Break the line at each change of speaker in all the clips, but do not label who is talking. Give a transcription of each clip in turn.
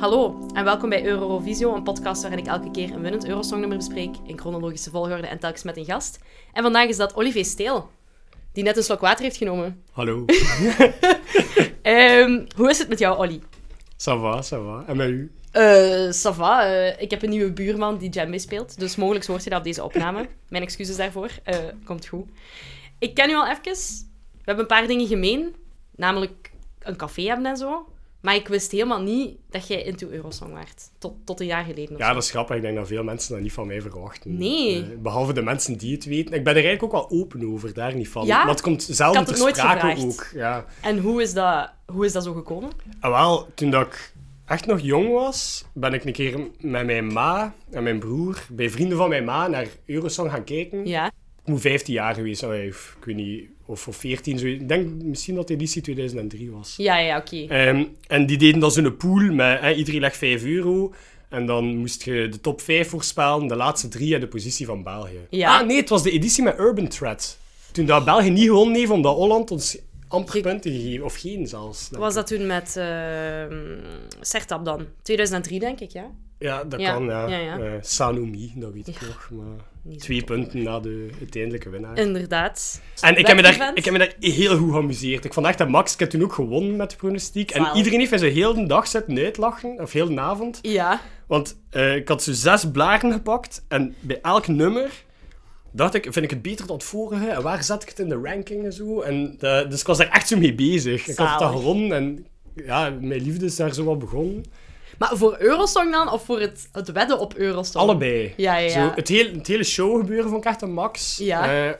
Hallo en welkom bij Eurovisio, een podcast waarin ik elke keer een winnend Eurosongnummer bespreek, in chronologische volgorde en telkens met een gast. En vandaag is dat Olivier Steel, die net een slok water heeft genomen.
Hallo,
Ehm, hoe is het met jou, Olly?
ça va, ça va. En met u?
Eh, ça va. eh, ik heb een nieuwe buurman die djembe speelt, dus mogelijk hoort je dat op deze opname. Mijn excuses daarvoor. Eh, komt goed. Ik ken u al even. We hebben een paar dingen gemeen, namelijk een café hebben en zo. Maar ik wist helemaal niet dat jij into Eurosong waart, tot, tot een jaar geleden of
Ja,
zo.
dat is grappig. Ik denk dat veel mensen dat niet van mij verwachten.
Nee.
Eh, behalve de mensen die het weten. Ik ben er eigenlijk ook wel open over, daar niet van.
Ja?
Maar het komt zelden
had
ter
het nooit
sprake
gevraagd.
ook. Ja.
En hoe is, dat, hoe is dat zo gekomen?
En wel, toen dat ik echt nog jong was, ben ik een keer met mijn ma en mijn broer, bij vrienden van mijn ma, naar Eurosong gaan kijken.
Ja.
Ik moet 15 jaar geweest zijn, eh, of ik weet niet, of of 14. Zo. Ik denk misschien dat de editie 2003 was.
Ja, ja, oké.
Ehm, en die deden dan zo'n pool met hè, iedereen legt 5 euro. En dan moest je de top 5 voorspellen, de laatste drie en de positie van België.
Ja.
Ah nee, het was de editie met Urban Thread. Toen dat België niet gewonnen heeft, omdat Holland ons amper
Ge-
punten gegeven, of geen zelfs. denk
Was
ik.
dat toen met ehm Sertab dan? 2003, denk ik, ja?
Ja, dat
Ja,
kan, ja.
ja, ja.
Eh, Sanomi, dat weet ik
Ja,
nog. Maar
Niet zo
twee
top.
punten na de uiteindelijk winnaar.
Inderdaad.
En ik heb, me daar,
Web-event?
ik heb me daar heel goed geamuseerd. Ik vond echt dat Max, ik heb toen ook gewonnen met de pronostiek. En
Zalig.
iedereen heeft mij zo heel de dag zitten uitlachen, of heel de avond.
Ja.
Want eh, ik had zo zes blaren gepakt en bij elk nummer dacht ik, vind ik het beter dan het vorige? En waar zet ik het in de ranking en zo? En, eh, dus ik was daar echt zo mee bezig. Ik had het al
Zalig.
gewonnen en ja, mijn liefde is daar zo wat begonnen.
Maar voor Eurosong dan? Of voor het, het wedden op Eurosong?
Allebei.
Ja, ja, ja.
Zo, het, heel, het hele show gebeuren vond ik echt een max.
Ja.
Eh,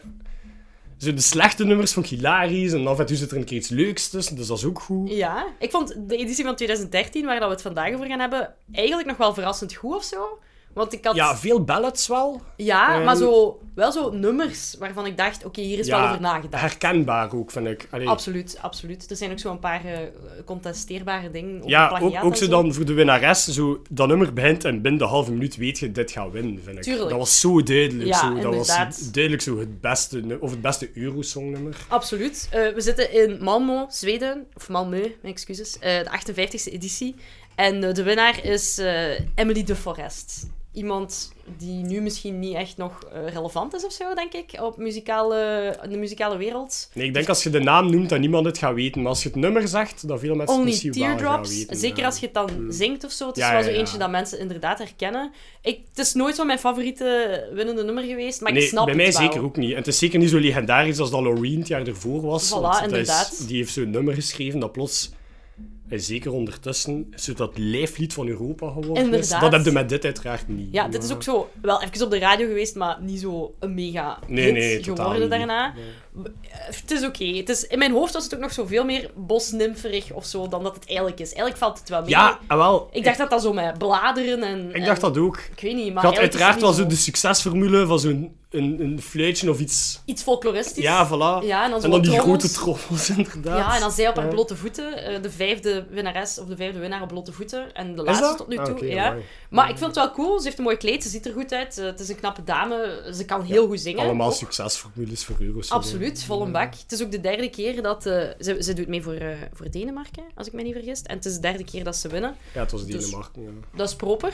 zo de slechte nummers vond ik hilarisch en af en toe zit er een keer iets leuks tussen, dus dat is ook goed.
Ja. Ik vond de editie van 2013, waar dat we het vandaag over gaan hebben, eigenlijk nog wel verrassend goed of zo. Want ik had...
Ja, veel ballads wel.
Ja,
Ehm.
maar zo, wel zo nummers waarvan ik dacht, oké, hier is
Ja,
wel over nagedacht.
Herkenbaar ook, vind ik. Allee,
Absoluut, absoluut. Er zijn ook zo'n paar eh, contesteerbare dingen. over
Ja,
plagiaat
ook, ook
en
zo dan voor de winnares, zo, dat nummer begint en binnen de halve minuut weet je, dit gaat winnen, vind ik.
Tuurlijk.
Dat was zo duidelijk.
Ja,
zo. Dat was
inderdaad.
duidelijk zo het beste, nu- of het beste Eurosongnummer.
Absoluut. Eh, we zitten in Malmo, Zweden. Of Malmö, mijn excuses. Eh, de 58e editie. En eh, de winnaar is eh, Emily de Forest. Iemand die nu misschien niet echt nog eh, relevant is of zo, denk ik, op muzikale, in de muzikale wereld.
Nee, ik denk als je de naam noemt, dat niemand het gaat weten. Maar als je het nummer zegt, dan veel mensen het
Only
misschien wel gaan
Teardrops.
weten.
Zeker
ja.
als je het dan zingt of zo. Het is
Hmm. Ja,
wel
ja,
zo
ja.
eentje dat mensen inderdaad herkennen. Ik, het is nooit zo mijn favoriete winnende nummer geweest, maar ik
Nee,
snap
bij mij
het wel.
zeker ook niet. En het is zeker niet zo legendarisch als dat Loreen het jaar ervoor was.
Voilà,
want dat is-
inderdaad.
die heeft zo'n nummer geschreven dat plots, en zeker ondertussen, zo dat lijflied van Europa geworden is.
Inderdaad.
Dat heb je met dit uiteraard niet.
Ja, dit is
Maar-
ook zo wel even op de radio geweest, maar niet zo een mega
Nee,
hit
nee, totaal
geworden
niet.
daarna.
Nee.
Eh, Het is oké. het is In mijn hoofd was het ook nog zoveel meer bosnimferig of zo dan dat het eigenlijk is. Eigenlijk valt het wel mee.
Ja, en wel.
Ik dacht dat dat zo met bladeren en...
ik dacht
en-
dat ook.
Ik weet niet, maar
Ik had
eigenlijk is
uiteraard
het
wel
niet
zo de succesformule van zo'n een, een fluitje of iets.
Iets folkloristisch.
Ja, voilà.
Ja, en dan, zo
en dan die
trommels.
grote trommels, inderdaad.
Ja, en dan zij op haar
Ja.
blote voeten. eh, de vijfde winnares of de vijfde winnaar op blote voeten. En de
Is
laatste
dat?
tot nu
Ah,
toe.
oké,
ja.
amai.
Maar ik vind het wel cool. Ze heeft een mooi kleed, ze ziet er goed uit. eh, het is een knappe dame, ze kan heel goed zingen.
Allemaal
Ook-
succesformules voor euro's.
Absoluut, vol een bak. Het is ook de derde keer dat... eh, ze, ze doet mee voor, eh, voor Denemarken, als ik me niet vergis. En het is de derde keer dat ze winnen.
Ja, het was
Dus-
Denemarken. ja.
Dat is proper.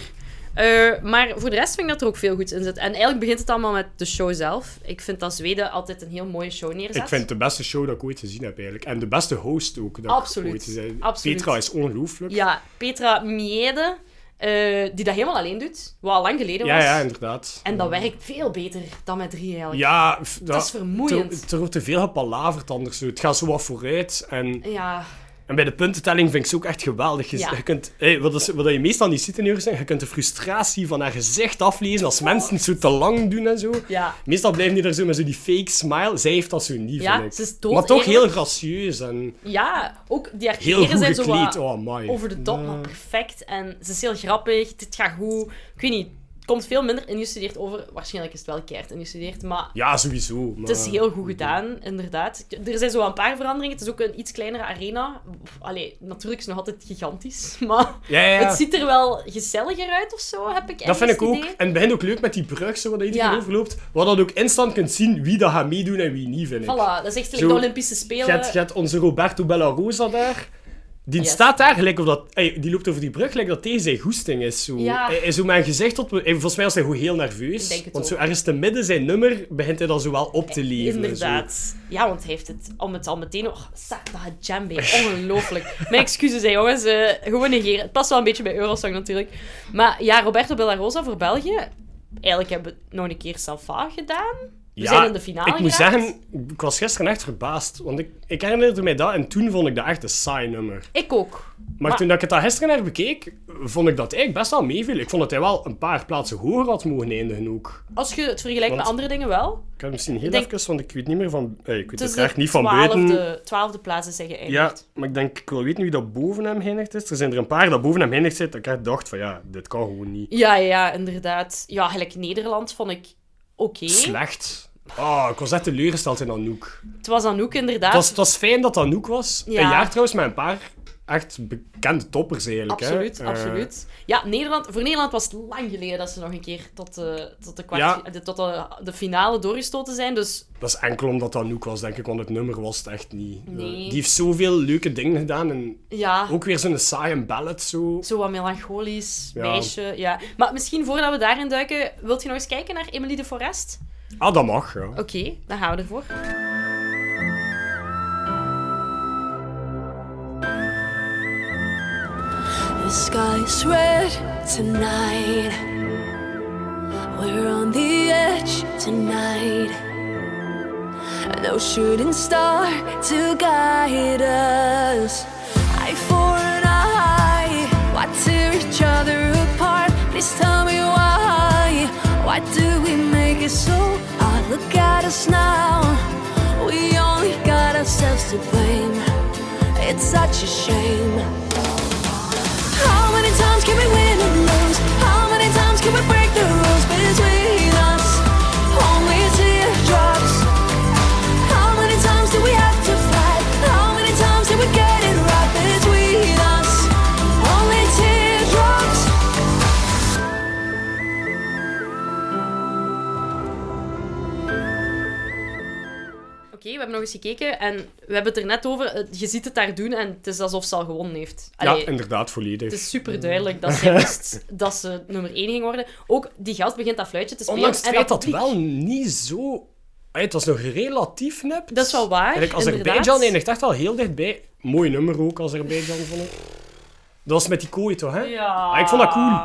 Eh, maar voor de rest vind ik dat er ook veel goeds in zit. En eigenlijk begint het allemaal met de show zelf. Ik vind dat Zweden altijd een heel mooie show neerzet.
Ik vind het de beste show dat ik ooit gezien heb, eigenlijk. En de beste host ook. Dat
Absoluut,
Ik ooit gezien heb.
absoluut.
Petra is ongelooflijk.
Ja, Petra Miede, eh, die dat helemaal alleen doet. Wat al lang geleden
ja,
was.
ja, inderdaad.
En dat werkt veel beter dan met drie eigenlijk.
Ja, f-
Dat is vermoeiend.
Er wordt te veel gepalaverd anders. zo. Het gaat zo wat vooruit. En
Ja,
En bij de puntentelling vind ik ze ook echt geweldig. Je,
Ja.
je kunt, hey, wat, is, wat je meestal niet ziet in uur zijn, je kunt de frustratie van haar gezicht aflezen als mensen het zo te lang doen en zo.
ja.
Meestal blijven die er zo met zo die fake smile. Zij heeft dat zo niet,
Ja,
vind ik.
ze is dood
maar toch
eerlijk.
heel gracieus en
ja, ook die haar
heel
kleren
goed
zijn zo wat
gekleed. Oh, my.
over de top, maar perfect. En ze is heel grappig, dit gaat goed. Ik weet niet, het komt veel minder ingestudeerd over. Waarschijnlijk is het wel keihard ingestudeerd, maar
Ja, sowieso. Maar...
het is heel goed gedaan, inderdaad. Er zijn zo een paar veranderingen. Het is ook een iets kleinere arena. Allee, natuurlijk is het nog altijd gigantisch, maar
Ja, ja, ja.
het ziet er wel gezelliger uit of zo, heb ik
Dat vind ik
ergens het
ook.
idee.
En het begint ook leuk met die brug, zo, waar iedereen
Ja.
overloopt. Waar dat ook instant kunt zien wie dat gaat meedoen en wie niet, vind ik.
Voilà, dat is echt
Zo,
de Olympische Spelen.
Je hebt, je hebt onze Roberto Bellarosa daar. Die
Yes.
staat daar, gelijk of dat, ey, die loopt over die brug, gelijk dat deze zijn goesting is. Zo.
Ja.
Hij is zo mijn gezicht tot. ey, Volgens mij was hij gewoon heel nerveus.
Ik denk het
want zo
ook.
ergens te midden zijn nummer begint hij dan zo wel op te leven.
Inderdaad. Ja, want hij heeft het al met al meteen... Oh, zak dat djembe. Ongelooflijk. Mijn excuses, hè, jongens. eh, gewoon negeren. Het past wel een beetje bij Eurosong natuurlijk. Maar ja, Roberto Bellarosa voor België. Eigenlijk hebben we het nog een keer Salva gedaan. We
Ja,
zijn in de finale
Ik moet
geraakt.
zeggen, ik was gisteren echt verbaasd. Want ik, ik herinnerde mij dat en toen vond ik dat echt een saai nummer.
Ik ook.
Maar,
Maar-
toen dat ik het daar gisteren naar bekeek, vond ik dat eigenlijk best wel meeviel. Ik vond dat hij wel een paar plaatsen hoger had mogen eindigen ook.
Als je het vergelijkt met
Want-
andere dingen wel.
Ik heb misschien heel
Ik denk-
even, want ik weet niet meer van... eh, ik weet
Het is
het
de
echt niet van buiten.
twaalfde, twaalfde plaats is hij geëindigd.
Ja, maar ik denk, ik wil weten wie dat boven hem eindigt is. Er zijn er een paar dat boven hem eindigt zit, dat ik echt dacht van ja, dit kan gewoon niet.
Ja, ja, ja, inderdaad. Ja, gelijk Nederland vond ik oké.
Slecht. Ah, ik was echt teleurgesteld in Anouk.
Het was Anouk inderdaad.
Het was, het was fijn dat dat Anouk was.
Ja.
Een jaar trouwens met een paar echt bekende toppers eigenlijk. hè.
Absoluut,
Eh,
absoluut. Ja, Nederland, voor Nederland was het lang geleden dat ze nog een keer tot, de, tot, de, kwart,
Ja.
de- tot de, de finale doorgestoten zijn. Dus
dat is enkel omdat dat Anouk was, denk ik, want het nummer was het echt niet. Eh,
Nee.
Die heeft zoveel leuke dingen gedaan en
ja,
ook weer zo'n saaie ballad zo.
zo wat melancholisch,
Ja.
meisje. Ja. Maar misschien voordat we daarin duiken, wilt je nog eens kijken naar Emily de Forest?
Ah, dat mag, ja.
Oké, dan gaan we ervoor.
The sky's red tonight. We're on the edge tonight. No shooting star to guide us. Eye for an eye. Why tear each other apart? Please tell me why. Why do we make it so hard? Look at us now. We only got ourselves to blame. It's such a shame. How many times can we win and lose? How many times can we break the rules between us? Only teardrops. How many times do we have to fight? How many times did we get it right between us? Only teardrops.
Oké, we hebben nog eens gekeken en we hebben het er net over. eh, Je ziet het daar doen en het is alsof ze al gewonnen heeft.
Ja,
Allee,
inderdaad, volledig.
Het is super duidelijk dat zij wist dat ze nummer 1 ging worden. Ook die gast begint dat fluitje te spelen.
Ondanks het
en
feit dat
publiek-
wel niet zo... Ey, het was nog relatief nep.
Dat is wel waar,
Kijk,
inderdaad.
Azerbeidzjan eindigt echt wel heel dichtbij. Mooi nummer ook, Azerbeidzjan, vond ik. Dat was met die kooi, toch, hè?
Ja.
Ah, ik vond dat cool.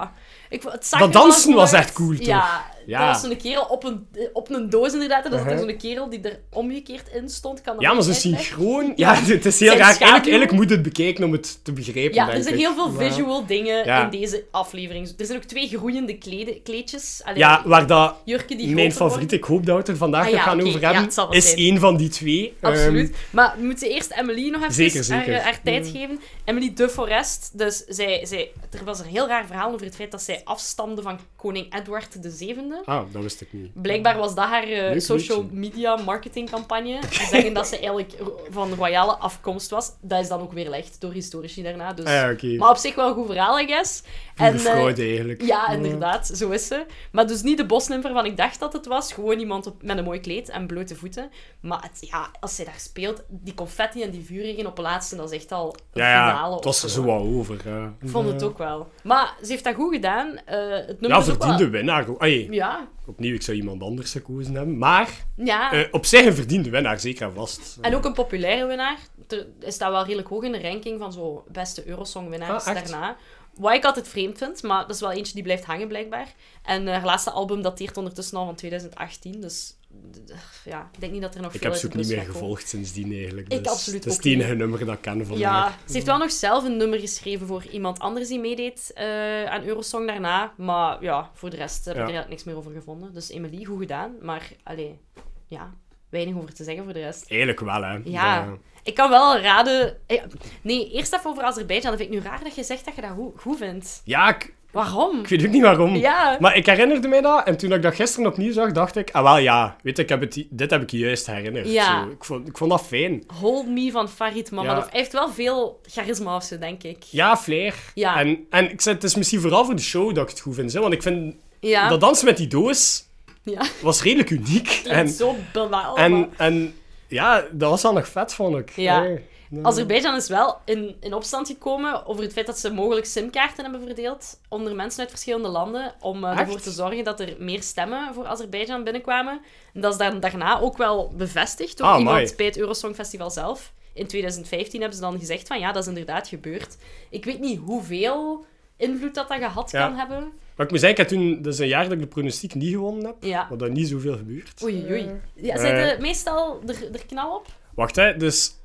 Ik vond- het zag
Dat
er wel
dansen
goed
was
uit.
echt cool, toch?
Ja,
Ja.
dat was zo'n kerel op een, eh, op een doos inderdaad. En dat was
Uh-huh.
zo'n kerel die er omgekeerd in stond. Kan dat
Ja, maar
ook
zo
uitleggen?
synchroon. Ja, het is heel
Zijn
raar. Eigenlijk,
schaduw.
eigenlijk moet je het bekijken om het te begrijpen.
Ja,
denk
er zijn
ik.
heel veel
Maar-
visual dingen
Ja.
in deze aflevering. Er zijn ook twee groeiende kleden, kleedjes. Allee,
Ja, waar dat
jurken die
mijn
groter worden.
favoriet, ik hoop dat we het er vandaag
Ah,
nog
ja,
gaan
oké.
over
Ja,
hebben,
het zal wel
is
zijn.
één van die twee.
Absoluut.
Ehm,
maar we moeten eerst Emily nog even
Zeker,
haar,
zeker. Mm.
eh, haar tijd geven. Emily de Forest. Dus zij, zij, er was een heel raar verhaal over het feit dat zij afstamde van koning Edward VII.
ah, dat wist ik niet.
Blijkbaar was dat haar eh,
leuk
social
liedje.
media marketingcampagne. Ze zeggen dat ze eigenlijk ro- van royale afkomst was. Dat is dan ook weer licht door historici daarna. Dus.
Ah, ja, oké.
Maar op zich wel een goed verhaal, I guess.
Goede
eh,
fraude eigenlijk. Mm.
ja, inderdaad, zo is ze. Maar dus niet de bosnimper van ik dacht dat het was. Gewoon iemand op, met een mooi kleed en blote voeten. Maar het, ja, als zij daar speelt, die confetti en die vuurregen op het laatste, dat is echt al een
Ja, ja,
finale.
het was er
of
zo wat over. eh. hè.
Ik vond het ook wel. Maar ze heeft dat goed gedaan. Eh, het nummer
Ja,
is ook wel-
verdiende winnaar. Ay,
Ja,
opnieuw, ik zou iemand anders gekozen hebben. Maar
ja.
eh, op zich een verdiende winnaar, zeker en vast.
Ah. En ook een populaire winnaar. Er staat wel redelijk hoog in de ranking van zo beste Eurosong-winnaars
Ah, echt?
daarna. Wat ik altijd vreemd vind, maar dat is wel eentje die blijft hangen blijkbaar. En eh, haar laatste album dateert ondertussen al van 2018, dus d- d- ja, ik denk niet dat er nog
Ik
veel
heb
uit
ze
de
ook niet
bus
meer
gaat komen.
gevolgd sindsdien eigenlijk.
Ik
dus
absoluut
Het is
ook
het enige
niet.
nummer dat ik ken van haar.
Ja, ze heeft wel nog zelf een nummer geschreven voor iemand anders die meedeed eh, aan Eurosong daarna. Maar ja, voor de rest heb ik
Ja.
er eigenlijk niks meer over gevonden. Dus Emily, goed gedaan. Maar, allee, ja, weinig over te zeggen voor de rest.
Eigenlijk wel, hè.
Ja.
Dat-
Ik kan wel raden... eh, Nee, eerst even over Azerbeidzjan. Dat vind ik nu raar dat je zegt dat je dat goed, goed vindt.
Ja, ik,
Waarom?
ik weet ook niet waarom.
Ja.
Maar ik herinnerde mij dat. En toen ik dat gisteren opnieuw zag, dacht ik... Ah, wel, ja. Weet je, ik heb het, dit heb ik juist herinnerd.
Ja.
Zo, ik, vond, ik vond dat fijn.
Hold Me van Farid Mamadov.
Ja.
Hij heeft wel veel charisma of zo, denk ik.
Ja, flair.
Ja.
En, en ik zei, het is misschien vooral voor de show dat ik het goed vind. Hè, want ik vind...
Ja.
Dat dansen met die doos
ja.
was redelijk uniek.
Klinkt
En,
zo banaal, Oh, maar-
en, en ja, dat was al nog vet, vond ik.
Ja.
Nee.
Azerbeidzjan is wel in, in opstand gekomen over het feit dat ze mogelijk simkaarten hebben verdeeld onder mensen uit verschillende landen. Om eh, ervoor
Echt?
te zorgen dat er meer stemmen voor Azerbeidzjan binnenkwamen. En dat is dan daarna ook wel bevestigd door
Ah,
iemand
amai.
bij het Eurosongfestival zelf. In 2015 hebben ze dan gezegd van ja, dat is inderdaad gebeurd. Ik weet niet hoeveel invloed dat dat gehad
Ja.
kan hebben.
Maar ik moet zeggen, ik heb toen, dat is een jaar dat ik de pronostiek niet gewonnen heb.
Ja.
Wat dat niet zoveel gebeurt.
Oei, oei. Ja, zijn
Eh.
er meestal er, er knal op?
Wacht, hè. Dus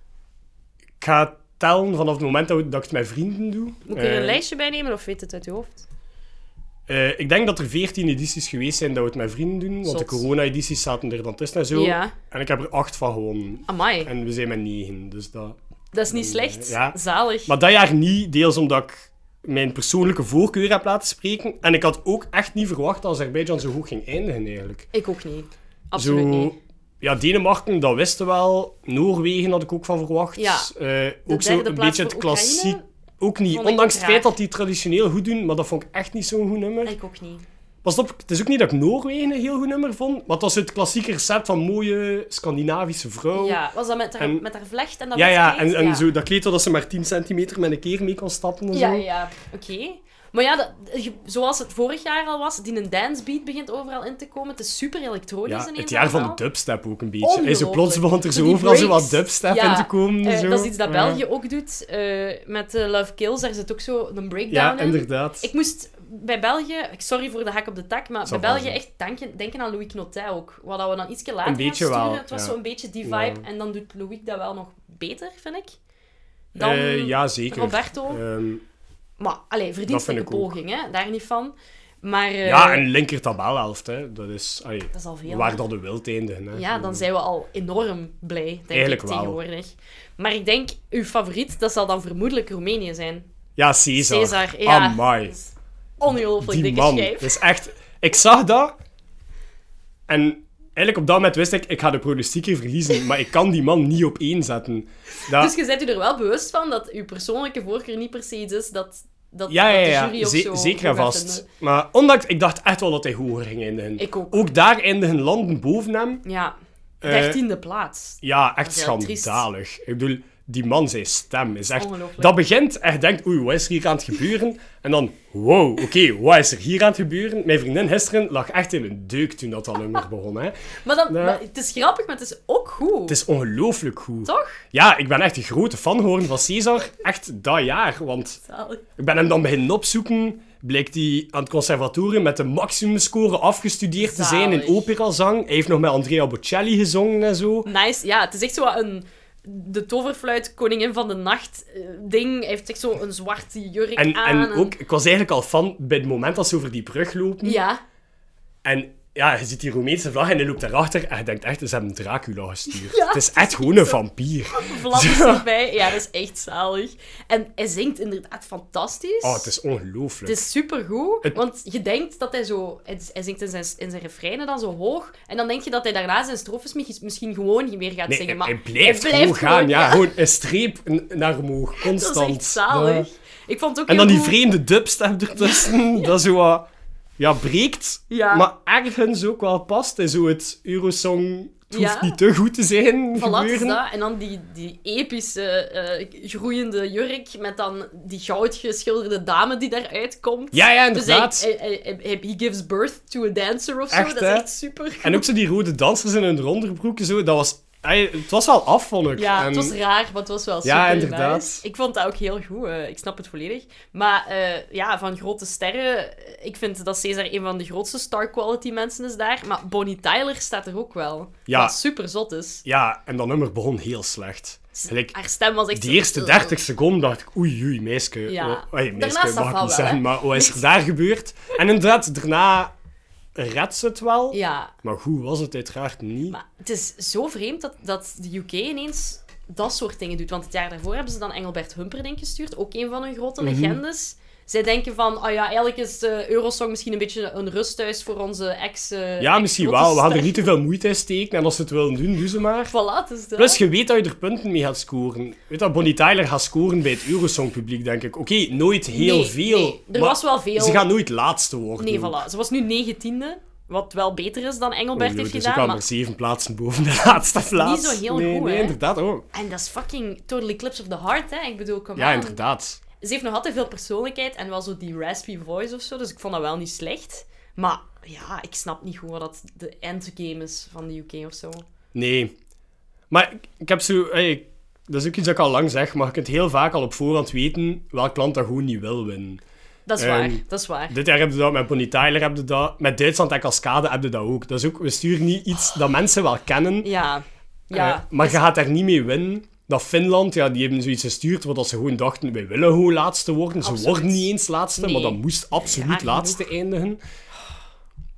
ik ga tellen vanaf het moment dat ik dat ik het met vrienden doe.
Moet ik er een
Eh,
lijstje bij nemen of weet het uit je hoofd?
eh, ik denk dat er 14 edities geweest zijn dat we het met vrienden doen. Want de
Zot.
corona-edities zaten er dan tussen en zo.
Ja.
En ik heb er 8 van gewonnen.
Amai,
En we zijn met 9. Dus dat...
dat is niet slecht.
Ja.
Zalig.
Maar dat jaar niet, deels omdat ik mijn persoonlijke voorkeur heb laten spreken. En ik had ook echt niet verwacht dat Azerbeidzjan zo hoog ging eindigen, eigenlijk.
Ik ook niet. Absoluut niet.
Ja, Denemarken, dat wisten wel. Noorwegen had ik ook van verwacht.
Ja.
Eh, ook zo
derde
een
plaats
beetje het
voor
klassiek.
Oekraïne
Ook niet.
vond ik
Ondanks het
raar.
feit dat die traditioneel goed doen, maar dat vond ik echt niet zo'n goed nummer.
Ik ook niet.
Pas op, het is ook niet dat ik Noorwegen een heel goed nummer vond, maar het was het klassieke recept van mooie Scandinavische vrouw.
Ja, was dat met haar,
Oh. en-
met haar vlecht en dat
ja, ja,
wit kleed?
en, en Zo, dat kleed dat ze maar 10 centimeter met een keer mee kon stappen en
Ja,
zo.
ja. Oké. Maar ja, dat- je- zoals het vorig jaar al was, die een dancebeat begint overal in te komen. Het is super elektronisch
Ja,
ineens
het jaar van de
allemaal.
dubstep ook een beetje. En zo plots
Ongelooflijk.
begon er zo
Die
overal zo
breaks.
wat dubstep
Ja,
in te komen.
Eh,
zo.
dat is iets dat
Ja.
België ook doet. eh, met eh, Love Kills, daar zit ook zo een breakdown
Ja,
in.
inderdaad.
Ik moest bij België, ik- sorry voor de hak op de tak, maar
Zal
bij België
wel zijn.
echt denken, denken aan Louis Knotet ook. Wat dat we dan iets later
Een beetje
gaan sturen,
wel,
het was
ja.
zo een beetje die vibe.
Ja.
En dan doet Louis dat wel nog beter, vind ik. Dan
Eh, ja, zeker.
Roberto.
Ehm,
maar, allee,
dat vind
verdienstelijke
ik ook.
poging, hè. Daar niet van. Maar... eh,
Ja, en linker tabelhelft, hè. Dat is... allee,
Dat is al veel.
waar
hè.
dat de wild eindigen, hè.
Ja, dan zijn we al enorm blij, denk
Eigenlijk
ik,
wel.
tegenwoordig. Maar ik denk, uw favoriet, dat zal dan vermoedelijk Roemenië zijn.
Ja, Caesar.
Cesar, ja.
Amai.
Dat is Ongelooflijk
Die
dikke
man.
schijf.
Dat is echt... Ik zag dat en eigenlijk op dat moment wist ik, ik ga de pronostiek hier verliezen, maar ik kan die man niet op één zetten. Dat...
Dus je bent u er wel bewust van dat uw persoonlijke voorkeur niet per se iets is dat, dat,
ja,
dat
ja,
de
ja.
jury of
Ze-
zo...
zeker en
goed gaat
vast.
vinden.
Maar ondanks... Ik dacht echt wel dat hij hoger ging eindigen.
Ik ook.
Ook daar eindigen landen boven hem.
Ja,
Eh,
dertiende plaats.
Ja, echt
Dat is heel triest.
schandalig. Ik bedoel, die man, zijn stem is echt...
Ongelooflijk.
Dat begint en je denkt, oei, wat is er hier aan het gebeuren? En dan, wow, oké, wat is er hier aan het gebeuren? Mijn vriendin gisteren lag echt in een deuk toen dat al nummer begon. Hè.
Maar, dan,
nou Ja.
maar het is grappig, maar het is ook goed.
Het is ongelooflijk goed.
Toch?
Ja, ik ben echt een grote fan geworden van Cesar. Echt dat jaar, want
Zalig.
ik ben hem dan beginnen opzoeken. Blijkt hij aan het conservatorium met de maximumscore afgestudeerd te zijn in
Zalig.
operazang. Hij heeft nog met Andrea Bocelli gezongen en zo.
Nice. Ja, het is echt zo wat een... De toverfluit, koningin van de nacht eh, ding. Hij heeft echt zo een zwarte jurk
En,
aan.
en ook, ik was eigenlijk al fan bij het moment dat ze over die brug lopen.
Ja.
En ja, je ziet die Roemeense vlag en hij loopt daarachter en je denkt echt, ze hebben Dracula gestuurd.
Ja,
het is echt gewoon een vampier.
Vlad is
Zo.
erbij. Ja, dat is echt zalig. En hij zingt inderdaad fantastisch.
Oh, het is ongelooflijk.
Het is supergoed,
Het-
want je denkt dat hij zo... Hij hij zingt in zijn, in zijn refreinen dan zo hoog, en dan denk je dat hij daarna zijn strofes mi- misschien gewoon niet meer gaat
Nee,
zingen.
hij,
Maar
hij blijft gewoon gaan. ja, gewoon een streep n- naar omhoog,
Dat
constant.
is echt zalig.
Ja.
Ik vond het ook
En dan
heel
die
goed-
vreemde dubstep ertussen, dat zo wat... Ja, breekt,
Ja.
maar ergens ook wel past. En zo het Eurosong, het hoeft
Ja.
niet te goed te zijn,
Voilà, het is
gebeuren.
dat. En dan die, die epische, eh, groeiende jurk met dan die goudgeschilderde dame die daaruit komt.
Ja, ja,
Dus hij,
inderdaad.
hij, hij, hij- hij- he gives birth to a dancer of zo.
Echt,
Dat is
hè?
echt super.
En ook zo die rode dansers in hun onderbroeken, zo, dat was... ey, Het was wel af, vond ik.
Ja,
En-
het was raar, maar het was wel super
Ja, inderdaad.
nice. Ik vond dat ook heel goed. eh, ik snap het volledig. Maar eh, ja, van grote sterren... eh, Ik vind dat Cesar een van de grootste star-quality mensen is daar. Maar Bonnie Tyler staat er ook wel.
Ja.
Wat super zot is.
Ja, en dat nummer begon heel slecht. Gelijk,
Haar stem was echt...
die
ah, zo-
eerste 30 seconden dacht ik, oei, oei, meisje.
Ja.
Oh, oei, meisje,
Daarna is dat
mag ik
wel wel,
niet zeggen,
hè?
maar wat is er daar gebeurd? En inderdaad, daarna redt ze het wel.
Ja.
Maar goed was het uiteraard niet.
Maar het is zo vreemd dat, dat de UK ineens dat soort dingen doet. Want het jaar daarvoor hebben ze dan Engelbert Humperdinck gestuurd, ook een van hun grote
Mhm.
legendes. Zij denken van, ah ja, eigenlijk is eh, Eurosong misschien een beetje een rusthuis voor onze ex... eh,
ja, misschien
ex-grote
wel. We hadden er
ster.
niet te veel moeite in steken. En als ze het willen doen, doen ze maar.
Voilà, het is dat.
Plus, je weet dat je er punten mee gaat scoren. Weet dat Bonnie Tyler gaat scoren bij het Eurosong-publiek, denk ik. Oké, nooit heel
Nee,
veel.
nee, er
maar
was wel veel.
Ze gaan nooit laatste worden.
Nee, voilà. Ze was nu negentiende. Wat wel beter is dan Engelbert heeft
dus ik
gedaan.
kwam
Maar...
er zeven plaatsen boven de laatste plaats.
zo heel
nee,
goed,
Nee,
hè?
inderdaad. Oh.
En dat is fucking Total Eclipse of the Heart, hè? Ik bedoel, kom
Ja,
aan.
inderdaad.
Ze heeft nog altijd veel persoonlijkheid en wel zo die raspy voice of zo, dus ik vond dat wel niet slecht. Maar ja, ik snap niet goed wat dat de endgame is van de UK of zo.
Nee. Maar ik, ik heb zo... hey, dat is ook iets dat ik al lang zeg, maar je kunt heel vaak al op voorhand weten welk land dat gewoon niet wil winnen.
Dat is
Ehm,
waar, dat is waar.
Dit jaar heb je dat, met Bonnie Tyler heb je dat, met Duitsland en Cascade heb je dat ook. Dat is ook, we sturen niet iets dat mensen wel kennen,
Ja, ja.
eh, maar je gaat daar niet mee winnen. Dat Finland, ja, die hebben zoiets gestuurd, wat dat ze gewoon dachten, wij willen gewoon laatste worden. Ze
Absoluut.
worden niet eens laatste, maar
Nee.
dat moest absoluut
Graag
laatste eindigen.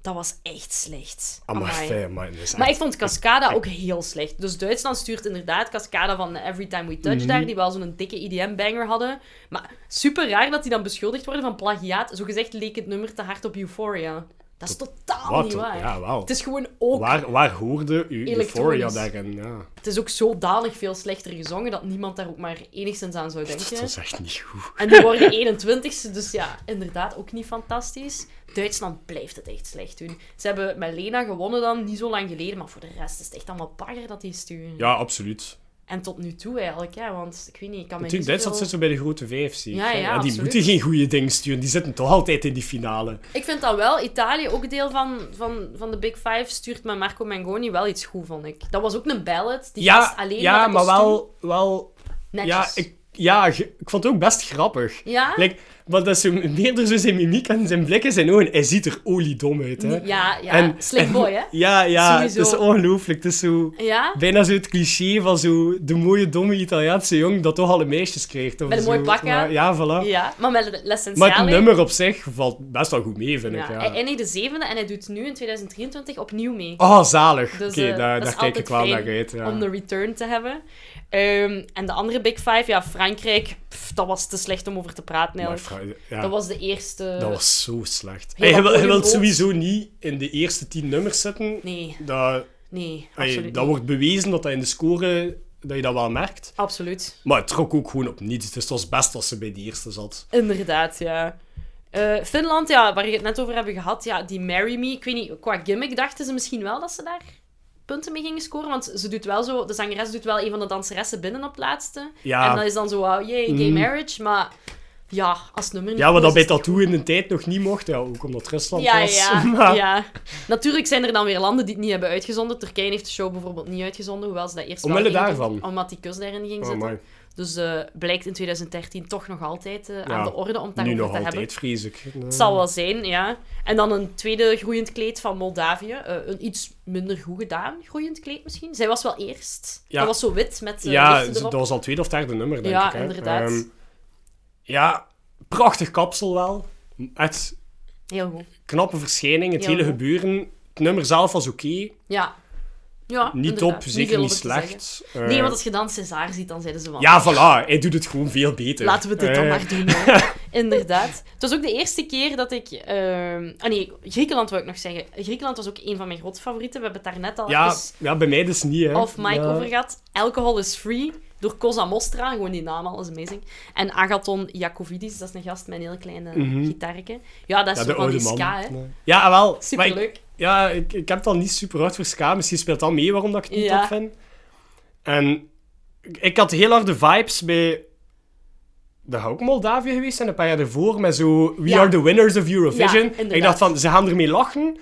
dat was echt slecht.
Ah, maar
Amai.
fijn, maar dat is
Maar ik
echt-
vond Cascada ook heel slecht. Dus Duitsland stuurt inderdaad Cascada van Every Time We
Mhm.
Touch daar, die wel zo'n dikke EDM-banger hadden. Maar super raar dat die dan beschuldigd worden van plagiaat. Zogezegd leek het nummer te hard op Euphoria. Dat is totaal
Wat?
niet waar.
Ja, wel.
Het is gewoon ook...
Waar, waar hoorde u Euphoria
Elektronisch.
daarin? Ja.
Het is ook zodanig veel slechter gezongen dat niemand daar ook maar enigszins aan zou denken.
Dat was echt niet goed.
En die worden 21ste, dus ja, inderdaad ook niet fantastisch. Duitsland blijft het echt slecht doen. Ze hebben met Lena gewonnen dan, niet zo lang geleden, maar voor de rest is het echt allemaal bagger dat die sturen.
Ja, absoluut.
En tot nu toe eigenlijk, ja, want ik weet niet, ik kan me niet
Natuurlijk, Duitsland
zoveel-
zit zo bij de grote vijf, zie ik.
Ja,
hè.
ja,
en die
absoluut.
moeten geen goede dingen sturen. Die zitten toch altijd in die finale.
Ik vind dat wel, Italië, ook deel van, van, van de Big Five, stuurt met Marco Mangoni wel iets goed, vond ik. Dat was ook een ballad, die gast alleen
ja
met een
maar
kostuum.
wel... wel ja,
Netjes.
ik, ja, ge- ik vond het ook best grappig.
Ja?
Like, want dat is zo, meerder zo zijn mimiek en zijn blik en zijn ogen. Hij ziet er oliedom uit, hè.
Ja, ja,
En-
slick boy, hè?
Ja, ja,
Sowieso.
het is ongelooflijk. Het is zo...
Ja?
Bijna zo het cliché van zo de mooie, domme Italiaanse jong dat toch alle meisjes kreeg. of
Met een mooi
zo.
pak aan.
Maar- Ja, voilà.
Ja, maar met L'Essentiale...
Maar het nummer op zich valt best wel goed mee, vind
Ja,
ik. Ja.
Hij eindigde zevende en hij doet nu in 2023 opnieuw mee.
Oh, zalig.
Dus
Oké,
eh,
daar,
dat
daar
is
kijk
altijd
ik wel
fijn
naar uit. Ja.
om de return te hebben. Ehm, en de andere Big Five, ja, Frankrijk, pff, dat was te slecht om over te praten
Maar
eigenlijk.
fra- ja,
Dat was de eerste...
dat was zo slecht.
Heel
Hey, je, wil- je
apart
wilt
rood.
sowieso niet in de eerste tien nummers zitten.
Nee,
Dat,
nee,
hey,
absoluut
dat
niet.
wordt bewezen dat dat in de score dat je dat wel merkt.
Absoluut.
Maar het trok ook gewoon op niets. Dus het was best als ze bij die eerste zat.
Inderdaad, ja. Eh, Finland, ja, waar we het net over hebben gehad, ja, die Marry Me, ik weet niet, qua gimmick dachten ze misschien wel dat ze daar punten mee gingen scoren, want ze doet wel zo, de zangeres doet wel een van de danseressen binnen op het laatste.
Ja. Mm.
En dat is dan zo, wow, yay, gay marriage, maar ja, als het nummer niet
Ja,
goed
wat dat
is,
bij
is het
Tattoo in de tijd nog niet mocht. Ja, ook omdat Rusland
Ja,
was.
ja,
Maar-
ja. Natuurlijk zijn er dan weer landen die het niet hebben uitgezonden. Turkije heeft de show bijvoorbeeld niet uitgezonden, hoewel ze dat eerst wel
Omwille
in-
daarvan?
Omdat die kus daarin ging
Oh,
zitten.
maar
Dus eh, blijkt in 2013 toch nog altijd eh,
Ja,
aan de orde om het
nu
daarover
nog
te hebben.
altijd, vrees ik.
Het zal wel zijn, ja. En dan een tweede groeiend kleed van Moldavië. Eh, een iets minder goed gedaan groeiend kleed misschien. Zij was wel eerst.
Ja.
Dat was zo wit met eh,
Ja,
lichten
ze-
erop.
dat was al het tweede of derde nummer, denk
Ja,
ik. Hè.
inderdaad.
Ehm, ja, prachtig kapsel wel. Echt
Heel goed.
knappe verschijning, het
Ja,
hele
hoor.
gebeuren. Het nummer zelf was oké.
Ja. Ja,
Niet
inderdaad.
top,
veel
zeker niet
over te zeggen.
slecht. Eh,
Nee, want als je dan César ziet, dan zeiden ze van...
Ja, voilà. Hij doet het gewoon veel beter.
Laten we dit dan
Eh,
maar doen. hè. Inderdaad. Het was ook de eerste keer dat ik. ehm, Ah nee, Griekenland wil ik nog zeggen. Griekenland was ook een van mijn grote favorieten. We hebben het daarnet al
Ja,
even
ja, bij mij dus niet, hè.
off mic
Ja.
over gehad. Alcohol is free door Cosa Mostra. Gewoon die naam al is amazing. En Agaton Jacovidis, dat is een gast met een heel kleine
Mhm.
gitaarke. Ja, dat is
Ja,
zo
de
van
oude
die
man.
ska, hè.
Nee. Ja, wel. maar ik-
Superleuk.
Ja, ik, ik heb dan niet super hard voor ska. Misschien speelt dat mee waarom dat ik het niet
Ja.
top vind. En ik- ik had heel harde vibes bij... Dat had ook Moldavië geweest en een paar jaar ervoor met zo... We
Ja.
are the winners of Eurovision.
inderdaad.
ik dacht van, ze gaan ermee lachen.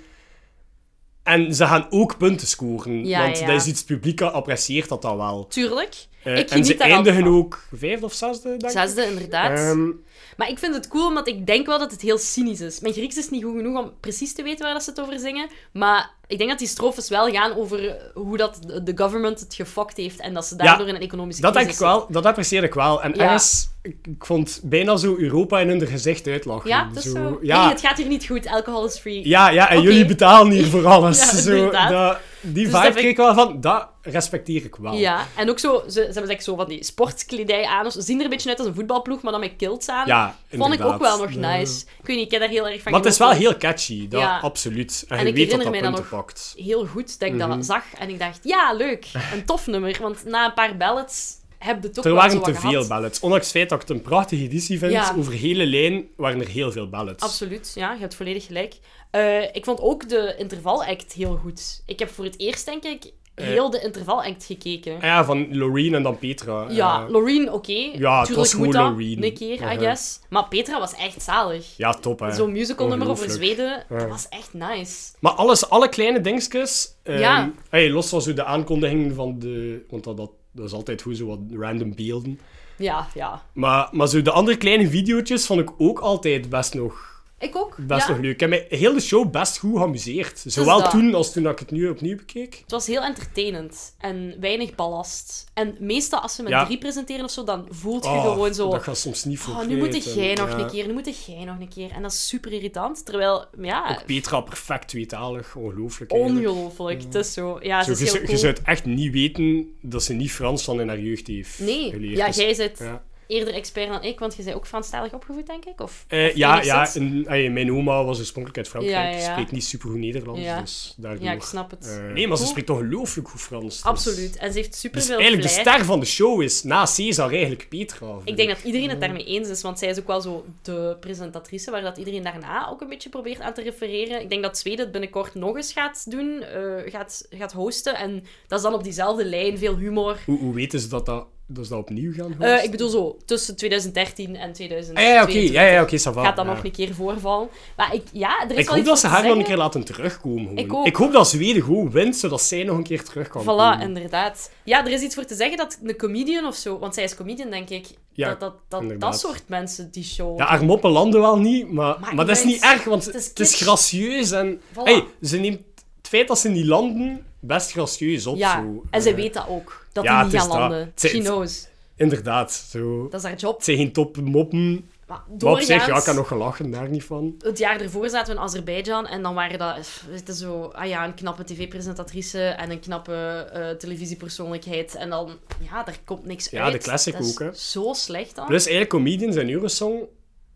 En ze gaan ook punten scoren.
Ja,
want
ja.
dat is iets, het publiek apprecieert dat dan wel.
Tuurlijk.
Eh,
ik
en
geniet
ze
daar altijd
eindigen
van.
ook vijfde of zesde, denk ik.
Zesde, inderdaad.
Ehm,
Maar ik vind het cool, omdat ik denk wel dat het heel cynisch is. Mijn Grieks is niet goed genoeg om precies te weten waar dat ze het over zingen. Maar ik denk dat die strofes wel gaan over hoe dat de- de government het gefokt heeft. En dat ze daardoor in een economische
dat denk
crisis
ik wel. Dat apprecieer ik wel. En
Ja.
ergens, ik, ik vond bijna zo Europa in hun gezicht uitlachen.
zitten. Ja, dat is zo.
Ja,
Nee, het gaat hier niet goed. Alcohol is free.
Ja, ja, en
Oké.
jullie betalen hier voor alles.
Ja,
zo,
inderdaad.
dat,
Dus
die
dat
vibe
vind
kreeg ik wel van, dat respecteer ik wel.
Ja, en ook zo, ze, ze hebben zeg, zo van die sportkledij aan. of Ze zien er een beetje uit als een voetbalploeg, maar dan met kilts aan.
Ja,
Vond ik
inderdaad.
ook wel nog
De-
nice. Ik weet niet, ik heb daar heel erg van
Maar het is wel
genoten.
heel catchy, dat,
Ja.
absoluut. En,
En
je
ik
weet dat dat
herinner mij
punten
dat
pakt. Mhm.
heel goed dat ik dat zag. En ik dacht, ja, leuk. Een tof nummer. Want na een paar ballads heb je toch
Er
wel zo
waren
wat
te veel
gehad.
ballads. Ondanks het feit dat ik het een prachtige editie vind,
Ja.
over hele lijn waren er heel veel ballads.
Absoluut, ja, je hebt volledig gelijk. Eh, ik vond ook de intervalact heel goed. Ik heb voor het eerst, denk ik,
Eh.
heel de intervalact gekeken.
Ah ja, van Loreen en dan Petra.
Ja,
Eh,
Loreen, oké.
Ja, het
Tuurlijk
was
moet
gewoon
dat
Loreen.
Een keer, I
Uh-huh.
guess. Maar Petra was echt zalig.
ja, top hè.
Zo'n musical nummer over
Ongelooflijk.
Zweden, dat
Ja.
was echt nice.
Maar alles, alle kleine dingetjes. ehm,
Ja.
hey, los van zo de aankondiging van de... Want dat, dat, dat is altijd goed, zo wat random beelden.
Ja, ja.
Maar, maar zo de andere kleine video's vond ik ook altijd best nog,
Ik ook.
best
ja. Dus
nog leuk. Ik heb mij heel de show best goed geamuseerd. Zowel
dat.
toen als toen ik het nu opnieuw bekeek.
Het was heel entertainend en weinig ballast. En meestal als ze met
Ja.
drie presenteren of zo, dan voelt je
Oh,
gewoon zo...
Dat gaat soms niet voor
Oh, nu moet
knijpen.
jij nog
Ja.
een keer, nu moet jij nog een keer. En dat is super irritant. Terwijl, ja,
Petra perfect tweetalig, ongelooflijk. eigenlijk.
ongelooflijk. Het is zo. Ja,
Zo,
het
je,
is heel
zou- je
cool.
zou het echt niet weten dat ze niet Frans van in haar jeugd heeft
Nee,
geleerd.
ja,
Dus-
jij zit
ja.
eerder expert dan ik, want je bent ook Franstalig opgevoed, denk ik? Of,
Eh,
of
ja, ja
enigszins?
en, ah, ja, mijn oma was oorspronkelijk uit Frankrijk.
Ja, ja,
Ze
ja.
spreekt niet supergoed Nederlands,
Ja.
dus daardoor...
Ja, ik snap het.
Eh, nee, maar ze
Cool.
spreekt toch ongelooflijk goed Frans. dus-
Absoluut. En ze heeft super
Dus
veel
eigenlijk de
flair.
ster van de show is, na César, eigenlijk Petra. vind
Ik denk dat iedereen het daarmee eens is, want zij is ook wel zo de presentatrice waar dat iedereen daarna ook een beetje probeert aan te refereren. Ik denk dat Zweden het binnenkort nog eens gaat doen, eh, gaat, gaat hosten. En dat is dan op diezelfde lijn, veel humor.
Hoe, hoe weten ze dat dat, dat, ze dat opnieuw gaan hosten?
Eh, ik bedoel zo, tussen 2013 en
Ah, ja, oké.
2022
Ja, ja, oké, ça va.
gaat dat
Ja.
nog een keer voorvallen. Maar ik, ja, er is
Ik
wel
hoop
iets
dat ze
voor
haar
te
nog een keer
zeggen.
laten terugkomen. gewoon.
Ik ook.
ik hoop dat Zweden gewoon wint, zodat zij nog een keer terug kan
Voilà,
komen.
inderdaad. Ja, er is iets voor te zeggen dat een comedian of zo, want zij is comedian, denk ik,
Ja,
dat, dat, dat, dat
inderdaad.
soort mensen die show.
Ja, haar moppen landen wel niet, maar,
Maar
maar, dat is
niet
niet
uit.
erg, want
Het
het
is
is, gracieus. En,
Voilà.
hey, ze neemt het feit dat ze niet landen best gracieus op.
Ja,
zo.
en zij
Eh,
weet dat ook, dat die
ja,
niet
het
gaan
is dat.
landen.
Zij-
She knows.
Inderdaad. Zo.
Dat is haar job.
Het zijn geen topmoppen.
Maar
Maar op zich, ja, ik
doorgaans,
kan nog gelachen, daar niet van.
het jaar ervoor zaten we in Azerbeidzjan en dan waren dat pff, weet je, zo, ah ja, een knappe tv-presentatrice en een knappe eh, televisiepersoonlijkheid. En dan, ja, daar komt niks
Ja,
uit.
de classic
Dat is
ook, hè.
zo slecht dan.
Plus, eigenlijk, comedians en Eurosong,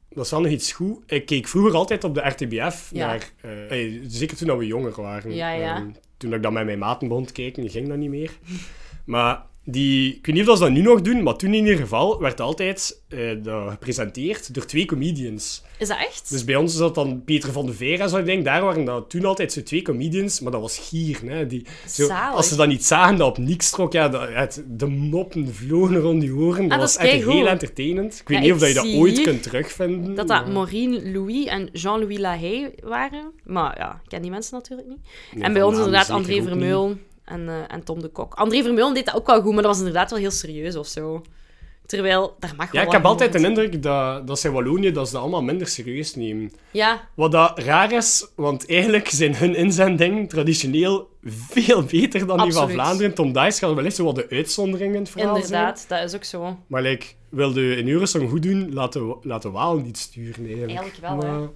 dat is wel nog iets goed. Ik keek vroeger altijd op de RTBF
Ja.
naar... eh, eh, zeker toen dat we jonger waren.
Ja, ja.
Ehm, toen ik dat met mijn maten begon te kijken, ging dat niet meer. Maar die... Ik weet niet of dat ze dat nu nog doen, maar toen in ieder geval werd altijd eh, dat gepresenteerd door twee comedians.
Is dat echt?
Dus bij ons is dat dan Peter van de Veer en zo. Ik denk, daar waren dat toen altijd zo twee comedians, maar dat was gier. Hè? Die, zo,
Zalig.
als ze dan niet zagen, dat op niks trok. Ja, dat, het- de moppen vlogen rond die oren. Dat,
Ah, dat
was
is
echt
keigoed.
heel entertainend. Ik weet
Ja,
niet of dat
ik
je dat
zie
ooit
hier
kunt terugvinden.
Dat dat
maar-
Maureen Louis en Jean-Louis Lahey waren. Maar ja, ik ken die mensen natuurlijk niet.
Nee,
en bij
van
ons
naam
inderdaad
zeker
André
ook niet.
Vermeulen en, eh, en Tom de Kok. André Vermeulen deed dat ook wel goed, maar dat was inderdaad wel heel serieus of zo. Terwijl, daar mag wel
Ja, ik
wat
heb altijd
humor
de
in
indruk dat, dat ze in Wallonië dat ze dat allemaal minder serieus nemen.
zitten. Ja,
Wat dat raar is, want eigenlijk zijn hun inzendingen traditioneel veel beter dan die van
Absoluut.
Vlaanderen. Tom Dice gaat wellicht zo wat de uitzondering in het verhaal zijn.
inderdaad, dat is ook zo.
Maar like, wilde een Eurosong goed doen, laten we, laten we Walen niet sturen eigenlijk.
Eigenlijk wel,
Maar-
hè.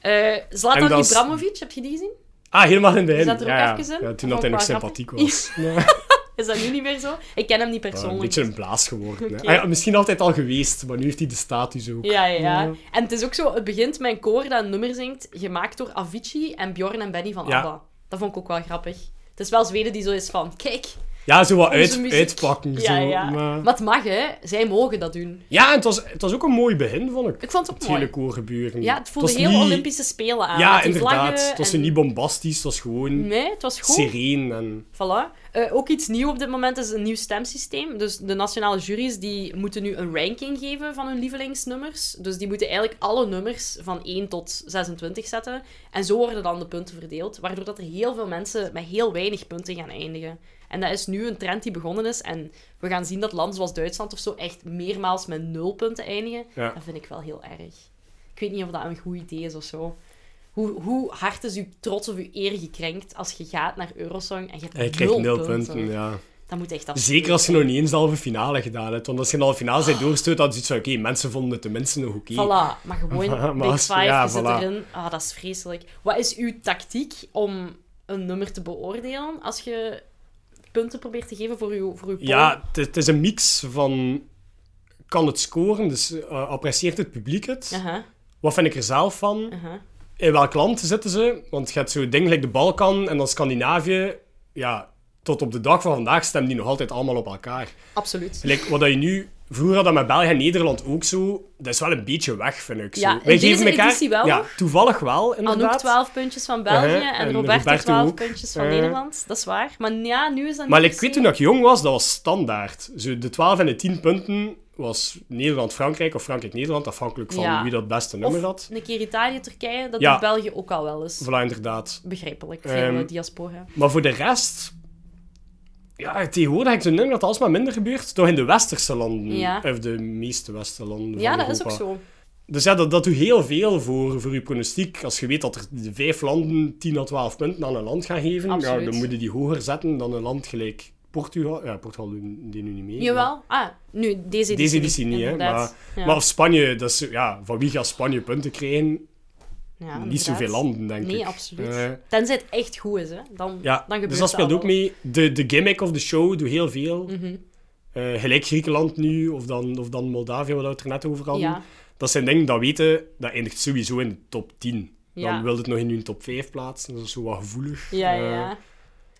Eh Zlatan
En dat is-
Ibrahimovic, heb je die gezien?
Ah, helemaal in de heen.
zat er ook
ja,
even in?
ja. Ja, toen
Vond
dat hij
ik
nog
wel
sympathiek
grappig.
was. Ja.
Is dat nu niet meer zo? Ik ken hem niet
Ah, een
persoonlijk.
beetje een blaas geworden. hè.
Oké.
Ah ja, misschien altijd al geweest, maar nu heeft hij de status ook.
Ja, ja, ja.
Ja.
En het is ook zo, het begint met een koor dat een nummer zingt, gemaakt door Avicii en Bjorn en Benny van
Ja.
ABBA. Dat vond ik ook wel grappig. Het is wel Zweden die zo is van, kijk,
Ja, zo wat
Onze
uit,
muziek.
uitpakken.
ja,
zo,
ja.
Maar...
Wat mag, hè? Zij mogen dat doen.
Ja, en het was, het was ook een mooi begin, vond ik.
Ik vond het ook
Het
mooi.
hele koorgebeuren.
Ja, het voelde
was
heel
niet-
Olympische Spelen aan.
Ja,
met die
inderdaad.
vlaggen
Het was
en-
niet bombastisch, het was gewoon
Nee, het was goed.
sereen. En...
Voilà. Eh, ook iets nieuw op dit moment is een nieuw stemsysteem. Dus de nationale juries die moeten nu een ranking geven van hun lievelingsnummers. Dus die moeten eigenlijk alle nummers van 1 tot 26 zetten. En zo worden dan de punten verdeeld. Waardoor dat er heel veel mensen met heel weinig punten gaan eindigen. En dat is nu een trend die begonnen is. En we gaan zien dat landen zoals Duitsland of zo echt meermaals met nul punten eindigen.
Ja.
Dat vind ik wel heel erg. Ik weet niet of dat een goed idee is of zo. Hoe, hoe hard is uw trots of uw eer gekrenkt als je gaat naar Eurosong en je hebt
Hij krijgt
nul
nul punten, ja.
Dat moet echt af.
Zeker als je nog niet eens de halve finale gedaan hebt. Want als je in de halve finale bent doorgestoot, dan is het zo, oké, mensen vonden het tenminste nog oké.
Voilà, maar gewoon
Maar
Big
als-
Five,
ja,
je zit
voilà.
erin. Ah, dat is vreselijk. Wat is uw tactiek om een nummer te beoordelen als je punten probeert te geven voor uw, voor uw poll?
Ja, het- het is een mix van... Kan het scoren, dus eh, apprecieert het publiek het?
Aha,
Wat vind ik er zelf van?
aha.
In welk land zitten ze? Want je hebt zo'n ding like de Balkan en dan Scandinavië. Ja, het tot op de dag van vandaag stemmen die nog altijd allemaal op elkaar.
Absoluut.
Gelijk, wat dat je nu... Vroeger had dat met België en Nederland ook zo. Dat is wel een beetje weg, vind ik. Zo.
Ja, in deze editie wel
Ja,
nog.
toevallig wel,
Anouk
inderdaad.
12 puntjes van België
Uh-huh,
en,
en
Roberto
Roberto
12
ook.
puntjes van
Uh-huh.
Nederland. Dat is waar. Maar ja, nu is dat
Maar
niet
ik
per
weet
se-
toen ik jong was, dat was standaard. Zo, de 12 en de 10 punten was Nederland-Frankrijk of Frankrijk-Nederland, afhankelijk van
Ja.
wie dat beste nummer
Of
had.
een keer Italië, Turkije, dat
Ja.
doet België ook al wel eens.
Voilà, inderdaad.
Begrijpelijk, veel
Ehm,
eh, diaspora.
Maar voor de rest... Ja, tegenwoordig heb ik de nummer dat alsmaar minder gebeurt. Toch in de westerse landen.
Ja.
Of de meeste westerse landen van
Ja, dat is ook
Europa.
zo.
Dus ja, dat, dat doet heel veel voor, voor je pronostiek. Als je weet dat er vijf landen 10 à 12 punten aan een land gaan geven, ja,
Absoluut.
dan moeten die hoger zetten dan een land gelijk Portugal. Ja, Portugal doen die nu niet mee. maar-
Jawel. Ah, nu, deze editie,
Deze editie niet, hè. Maar,
inderdaad. Ja.
maar of Spanje, dat is, zo- ja, van wie gaat Spanje punten krijgen?
Ja,
niet
Ah, inderdaad.
zoveel landen, denk ik.
Nee, absoluut.
Eh,
Tenzij het echt goed is, hè. Dan,
ja,
dan gebeurt
dus dat speelt
wel. Mhm.
ook mee. De, de gimmick of de show doet heel veel. Eh, gelijk Griekenland nu, of dan, of dan Moldavië, wat we het er net over hadden.
Ja.
Dat zijn dingen dat weten, dat eindigt sowieso in de top 10.
Ja.
Dan wil het nog in hun top 5 plaatsen, dat is zo wat gevoelig.
Ja, ja,
Eh,
ja.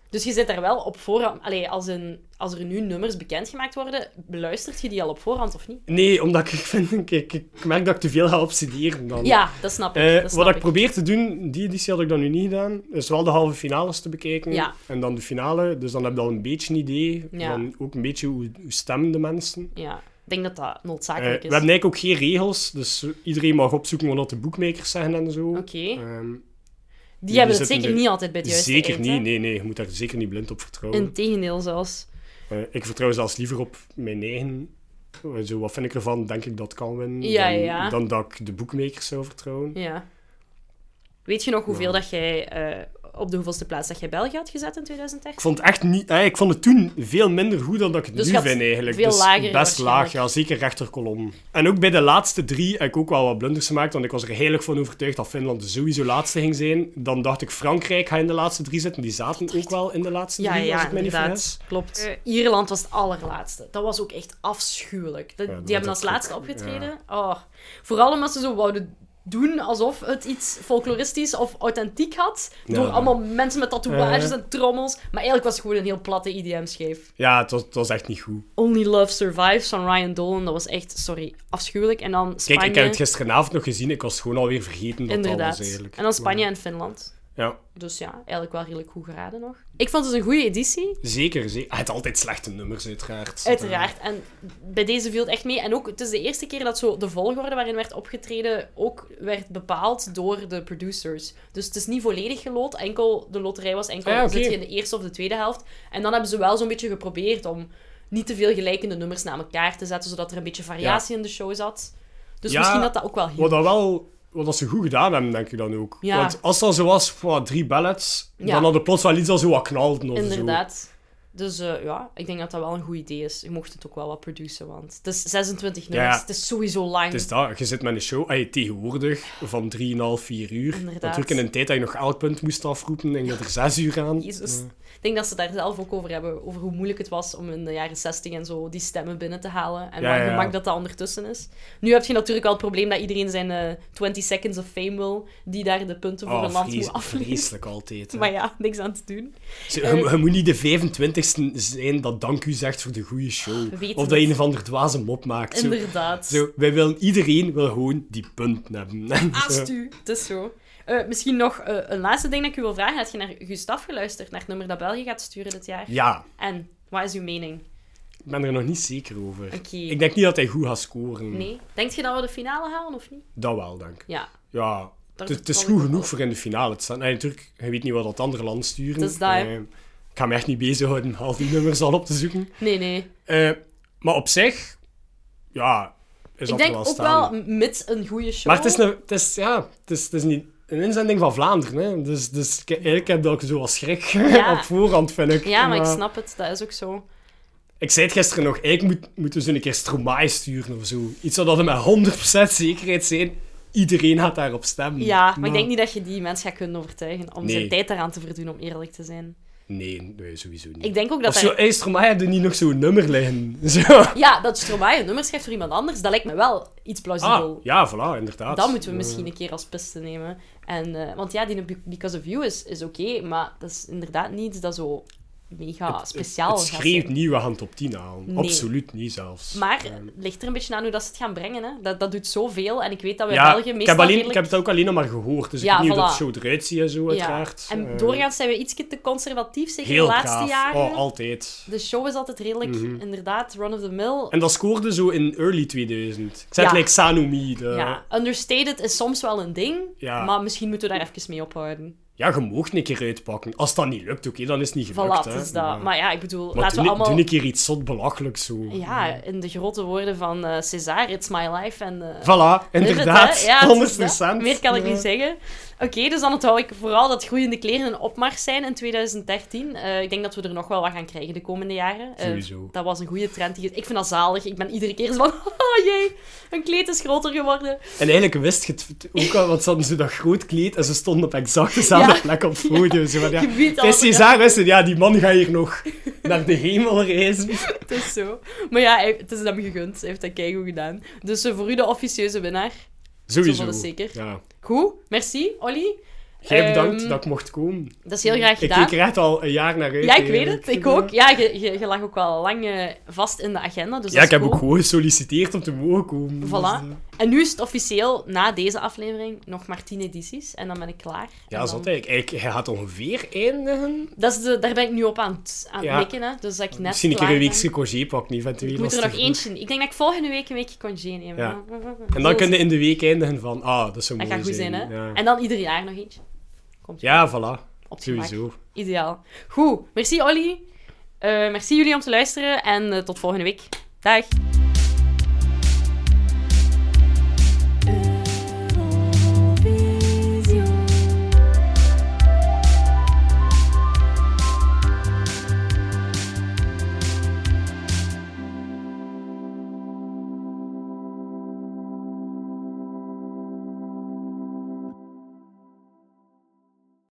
Dus je zit daar wel op voorhand... Allee, als, een, als er nu nummers bekendgemaakt worden, beluistert je die al op voorhand of niet?
nee, omdat ik, ik vind, ik, ik, ik merk dat ik te veel ga obsederen dan.
Ja, dat snap ik.
Eh,
dat snap
wat ik probeer te doen, die editie had ik dan nu niet gedaan, is wel de halve finales te bekijken
Ja.
en dan de finale. Dus dan heb je al een beetje een idee
Ja.
van ook een beetje hoe, hoe stemmen de mensen.
Ja, ik denk dat dat
Eh,
noodzakelijk
we
is.
hebben eigenlijk ook geen regels, dus iedereen mag opzoeken wat de boekmakers zeggen en zo.
Oké. Die,
Ehm,
hebben het
zitten
zeker
er-
niet altijd bij het juiste
zeker
eind, hè.
niet, nee, nee, je moet daar zeker niet blind op vertrouwen.
Integendeel zelfs.
Eh, ik vertrouw zelfs liever op mijn eigen. eh, Zo, wat vind ik ervan? Denk ik dat kan winnen?
Ja,
dan,
ja.
dan dat ik de boekmakers zou vertrouwen.
Ja. Weet je nog hoeveel dat jij... eh, op de hoeveelste plaats dat jij België had gezet in 2013?
Ik vond, het echt niet, eh, ik vond het toen veel minder goed dan dat ik het
Dus je
nu
had
vind eigenlijk.
veel
dus
lager
best laag,
waarschijnlijk.
ja, zeker rechterkolom. En ook bij de laatste drie heb ik ook wel wat blunders gemaakt, want ik was er heilig van overtuigd dat Finland sowieso laatste ging zijn. Dan dacht ik Frankrijk gaat in de laatste drie zitten, die zaten ook wel in de laatste
Ja,
drie, als
ja,
ik me niet
inderdaad.
vergis.
Klopt. Eh, Ierland was het allerlaatste. Dat was ook echt afschuwelijk. Dat-
Ja, dat
die hebben als
was ook-
laatste opgetreden. Oh. Vooral omdat ze zo wouden doen alsof het iets folkloristisch of authentiek had.
Ja.
Door allemaal mensen met tatoeages
Ja.
en trommels. Maar eigenlijk was het gewoon een heel platte IDM-scheef.
Ja, het was, het was echt niet goed.
Only Love Survives van Ryan Dolan. Dat was echt, sorry, afschuwelijk. En dan Spanje.
Kijk, ik heb het gisteravond nog gezien, ik was gewoon alweer vergeten dat dat
Inderdaad.
was eigenlijk.
En dan Spanje en Finland.
Ja,
Dus ja, eigenlijk wel redelijk goed geraden nog. Ik vond het een goede editie.
zeker. zeker. Ah, Het altijd slechte nummers, uiteraard.
Uiteraard. En bij deze viel het echt mee. En ook, het is de eerste keer dat zo de volgorde waarin werd opgetreden ook werd bepaald door de producers. Dus het is niet volledig geloot. Enkel, de loterij was enkel,
Ah, ja, oké.
zit je in de eerste of de tweede helft. En dan hebben ze wel zo'n beetje geprobeerd om niet te veel gelijkende nummers naar elkaar te zetten, zodat er een beetje variatie in de show zat. Dus
Ja,
misschien dat dat ook wel hielp.
Wat dat wel... Wat dat ze goed gedaan hebben, denk ik dan ook.
Ja.
Want als dat zo was, voor drie ballads,
Ja.
dan hadden plots wel iets dat zo wat knalden of
Inderdaad. Dus eh, ja, ik denk dat dat wel een goed idee is. Je mocht het ook wel wat produceren, want het is 26 nummers.
Ja.
Het is sowieso lang.
zo. Het is dat, je zit met een show, ay, tegenwoordig, van 3,5, 4 uur.
Inderdaad.
Natuurlijk in een tijd dat je nog elk punt moest afroepen, denk ik dat er 6 uur aan.
Jezus. Ik denk dat ze daar zelf ook over hebben, over hoe moeilijk het was om in de jaren 60 en zo die stemmen binnen te halen. En
Ja,
wat
ja, ja.
gemak dat dat ondertussen is. Nu heb je natuurlijk wel het probleem dat iedereen zijn eh, 20 seconds of fame wil, die daar de punten voor
Oh,
een land
vries-
moet aflezen.
vreselijk altijd. hè.
Maar eh, ja, niks aan te doen.
Zo, Je, je moet niet de 25ste zijn dat dank u zegt voor de goede show.
We weten
Of dat je
het.
een of ander dwaze mop maakt. Zo,
Inderdaad.
Zo, wij willen, iedereen wil gewoon die punten hebben.
Haast u. Het is zo. Eh, misschien nog eh, een laatste ding dat ik u wil vragen. Heb je naar Gustaf geluisterd, naar het nummer dat België gaat sturen dit jaar?
Ja,
En, wat is uw mening?
ik ben er nog niet zeker over.
Oké.
Ik denk niet dat hij goed gaat scoren.
Nee? Denk je dat we de finale halen of niet?
Dat wel, denk ik.
Ja.
Ja,
Daar
het het is
vertrouw
goed
ik op.
genoeg voor in de finale te staan. Nee, natuurlijk, je weet niet wat dat andere land sturen.
Dat is dat, hè.
Eh, ik ga me echt niet bezighouden om al die nummers al op te zoeken.
Nee, nee.
Eh, maar op zich, ja, is
Ik
dat
denk
er wel
ook
staan.
wel m- mits een goede show.
Maar het is, een, het is, ja, het is, het is niet een inzending van Vlaanderen. Hè. Dus, dus ik- eigenlijk heb dat ook zo als schrik
Ja.
op voorhand, vind ik.
Ja, maar ik snap het. Dat is ook zo.
Ik zei het gisteren nog, ik moet, moeten we zo een keer Stromae sturen of zo. Iets zodat we met 100% zekerheid zijn, iedereen gaat daarop stemmen.
Ja, maar ik denk niet dat je die mensen gaat kunnen overtuigen om
Nee.
zijn tijd daaraan te verdoen, om eerlijk te zijn.
Nee, nee, sowieso niet.
Ik denk ook dat
of zo,
er-
hey, Stromae, heb je niet nog zo'n nummer liggen? Zo. Ah,
Ja, dat Stromae een nummer schrijft voor iemand anders, dat lijkt me wel iets plausibel.
Ah, ja, voilà, inderdaad. Eh,
Dat moeten we misschien een keer als piste nemen. En, eh, want ja, die Be- Because of You is, is oké, maar dat is inderdaad niet dat zo mega speciaal
Het
gaat
schreeuwt
zijn.
nieuwe hand op 10 aan.
Nee.
Absoluut niet zelfs.
Maar
Ehm,
het ligt er een beetje aan hoe dat ze het gaan brengen. Hè? Dat, dat doet zoveel. En ik weet dat we
ja,
in België
ik,
meestal
heb alleen, ik
redelijk-
heb het ook alleen nog maar gehoord. Dus
Ja,
ik weet niet hoe
voilà.
dat show eruit ziet en zo, uiteraard.
Ja. En
Ehm,
doorgaans zijn we ietsje te conservatief, zeker
heel
de laatste
braaf.
jaren.
Oh, altijd.
De show is altijd redelijk, inderdaad, run-of-the-mill.
En dat scoorde zo in early 2000. Ik zei
Ja.
het like Sanomi. de-
Ja, understated is soms wel een ding,
eh, Ja.
maar misschien moeten we daar even mee ophouden.
Ja, je moogt een keer uitpakken. Als dat niet lukt, oké, dan is het niet gelukt.
Voilà,
hè.
het is dat.
Maar-
Maar ja, ik bedoel,
Maar
laten
doe,
we
niet- doe
allemaal...
een keer iets zot belachelijks zo.
Ja, in de grote woorden van eh César, it's my life en... eh,
Voilà,
live it,
inderdaad.
hè. Ja, het is
100
dat. Meer kan ik
Ja.
niet zeggen. Oké, dus dan onthoud ik vooral dat groeiende kleren een opmars zijn in 2013. Eh, ik denk dat we er nog wel wat gaan krijgen de komende jaren. Eh,
Sowieso.
dat was een goede trend. die- Ik vind dat zalig. Ik ben iedere keer zo van, oh jee, een kleed is groter geworden.
En eigenlijk wist je het ook al, want ze hadden zo dat groot kleed en ze stonden op exact dezelfde
Ja.
plek op het podium. Zo van, ja.
Je weet
Het is
altijd,
César, wist het, ja, die man gaat hier nog naar de hemel reizen.
Het is zo. Maar ja, hij- het is hem gegund. Hij heeft dat keigoed gedaan. Dus eh, voor u de officieuze winnaar.
Sowieso.
Zo van, dat zeker.
Ja.
Goed, merci, Olly.
Jij bedankt
Ehm,
dat ik mocht komen.
Dat is heel graag
Mm, Ik
gedaan.
keek er echt al een jaar naar uit.
Ja, ik weet
eigenlijk.
het. Ik ook. Ja, je, je, je lag ook wel lang eh, vast in de agenda. Dus
Ja,
dat is
ik heb
cool.
ook gewoon gesolliciteerd om te mogen komen.
Voilà.
Dus, eh,
En nu is het officieel, na deze aflevering, nog maar tien edities. En dan ben ik klaar. En
Ja,
dan-
zot eigenlijk. Eigenlijk, Hij gaat ongeveer eindigen.
Dat is de, daar ben ik nu op aan het, aan het
Ja.
mikken, hè. Dus dat ik net
Misschien een keer
klaar
een
ben.
weekse congé pakken, eventueel.
Ik moet
als
er
het
nog
goed-
eentje... Ik denk dat ik volgende week een weekje congé neem.
Ja. En
Zo
dan
is-
kun je in de week eindigen van, ah, dat zou
Dat
mooi
gaat goed zijn, hè.
Ja,
En dan ieder jaar nog eentje. Komt
ja voilà.
op het gemak.
Sowieso.
Ideaal. Goed. Merci, Olly. Eh, merci jullie om te luisteren. En eh, tot volgende week. Dag.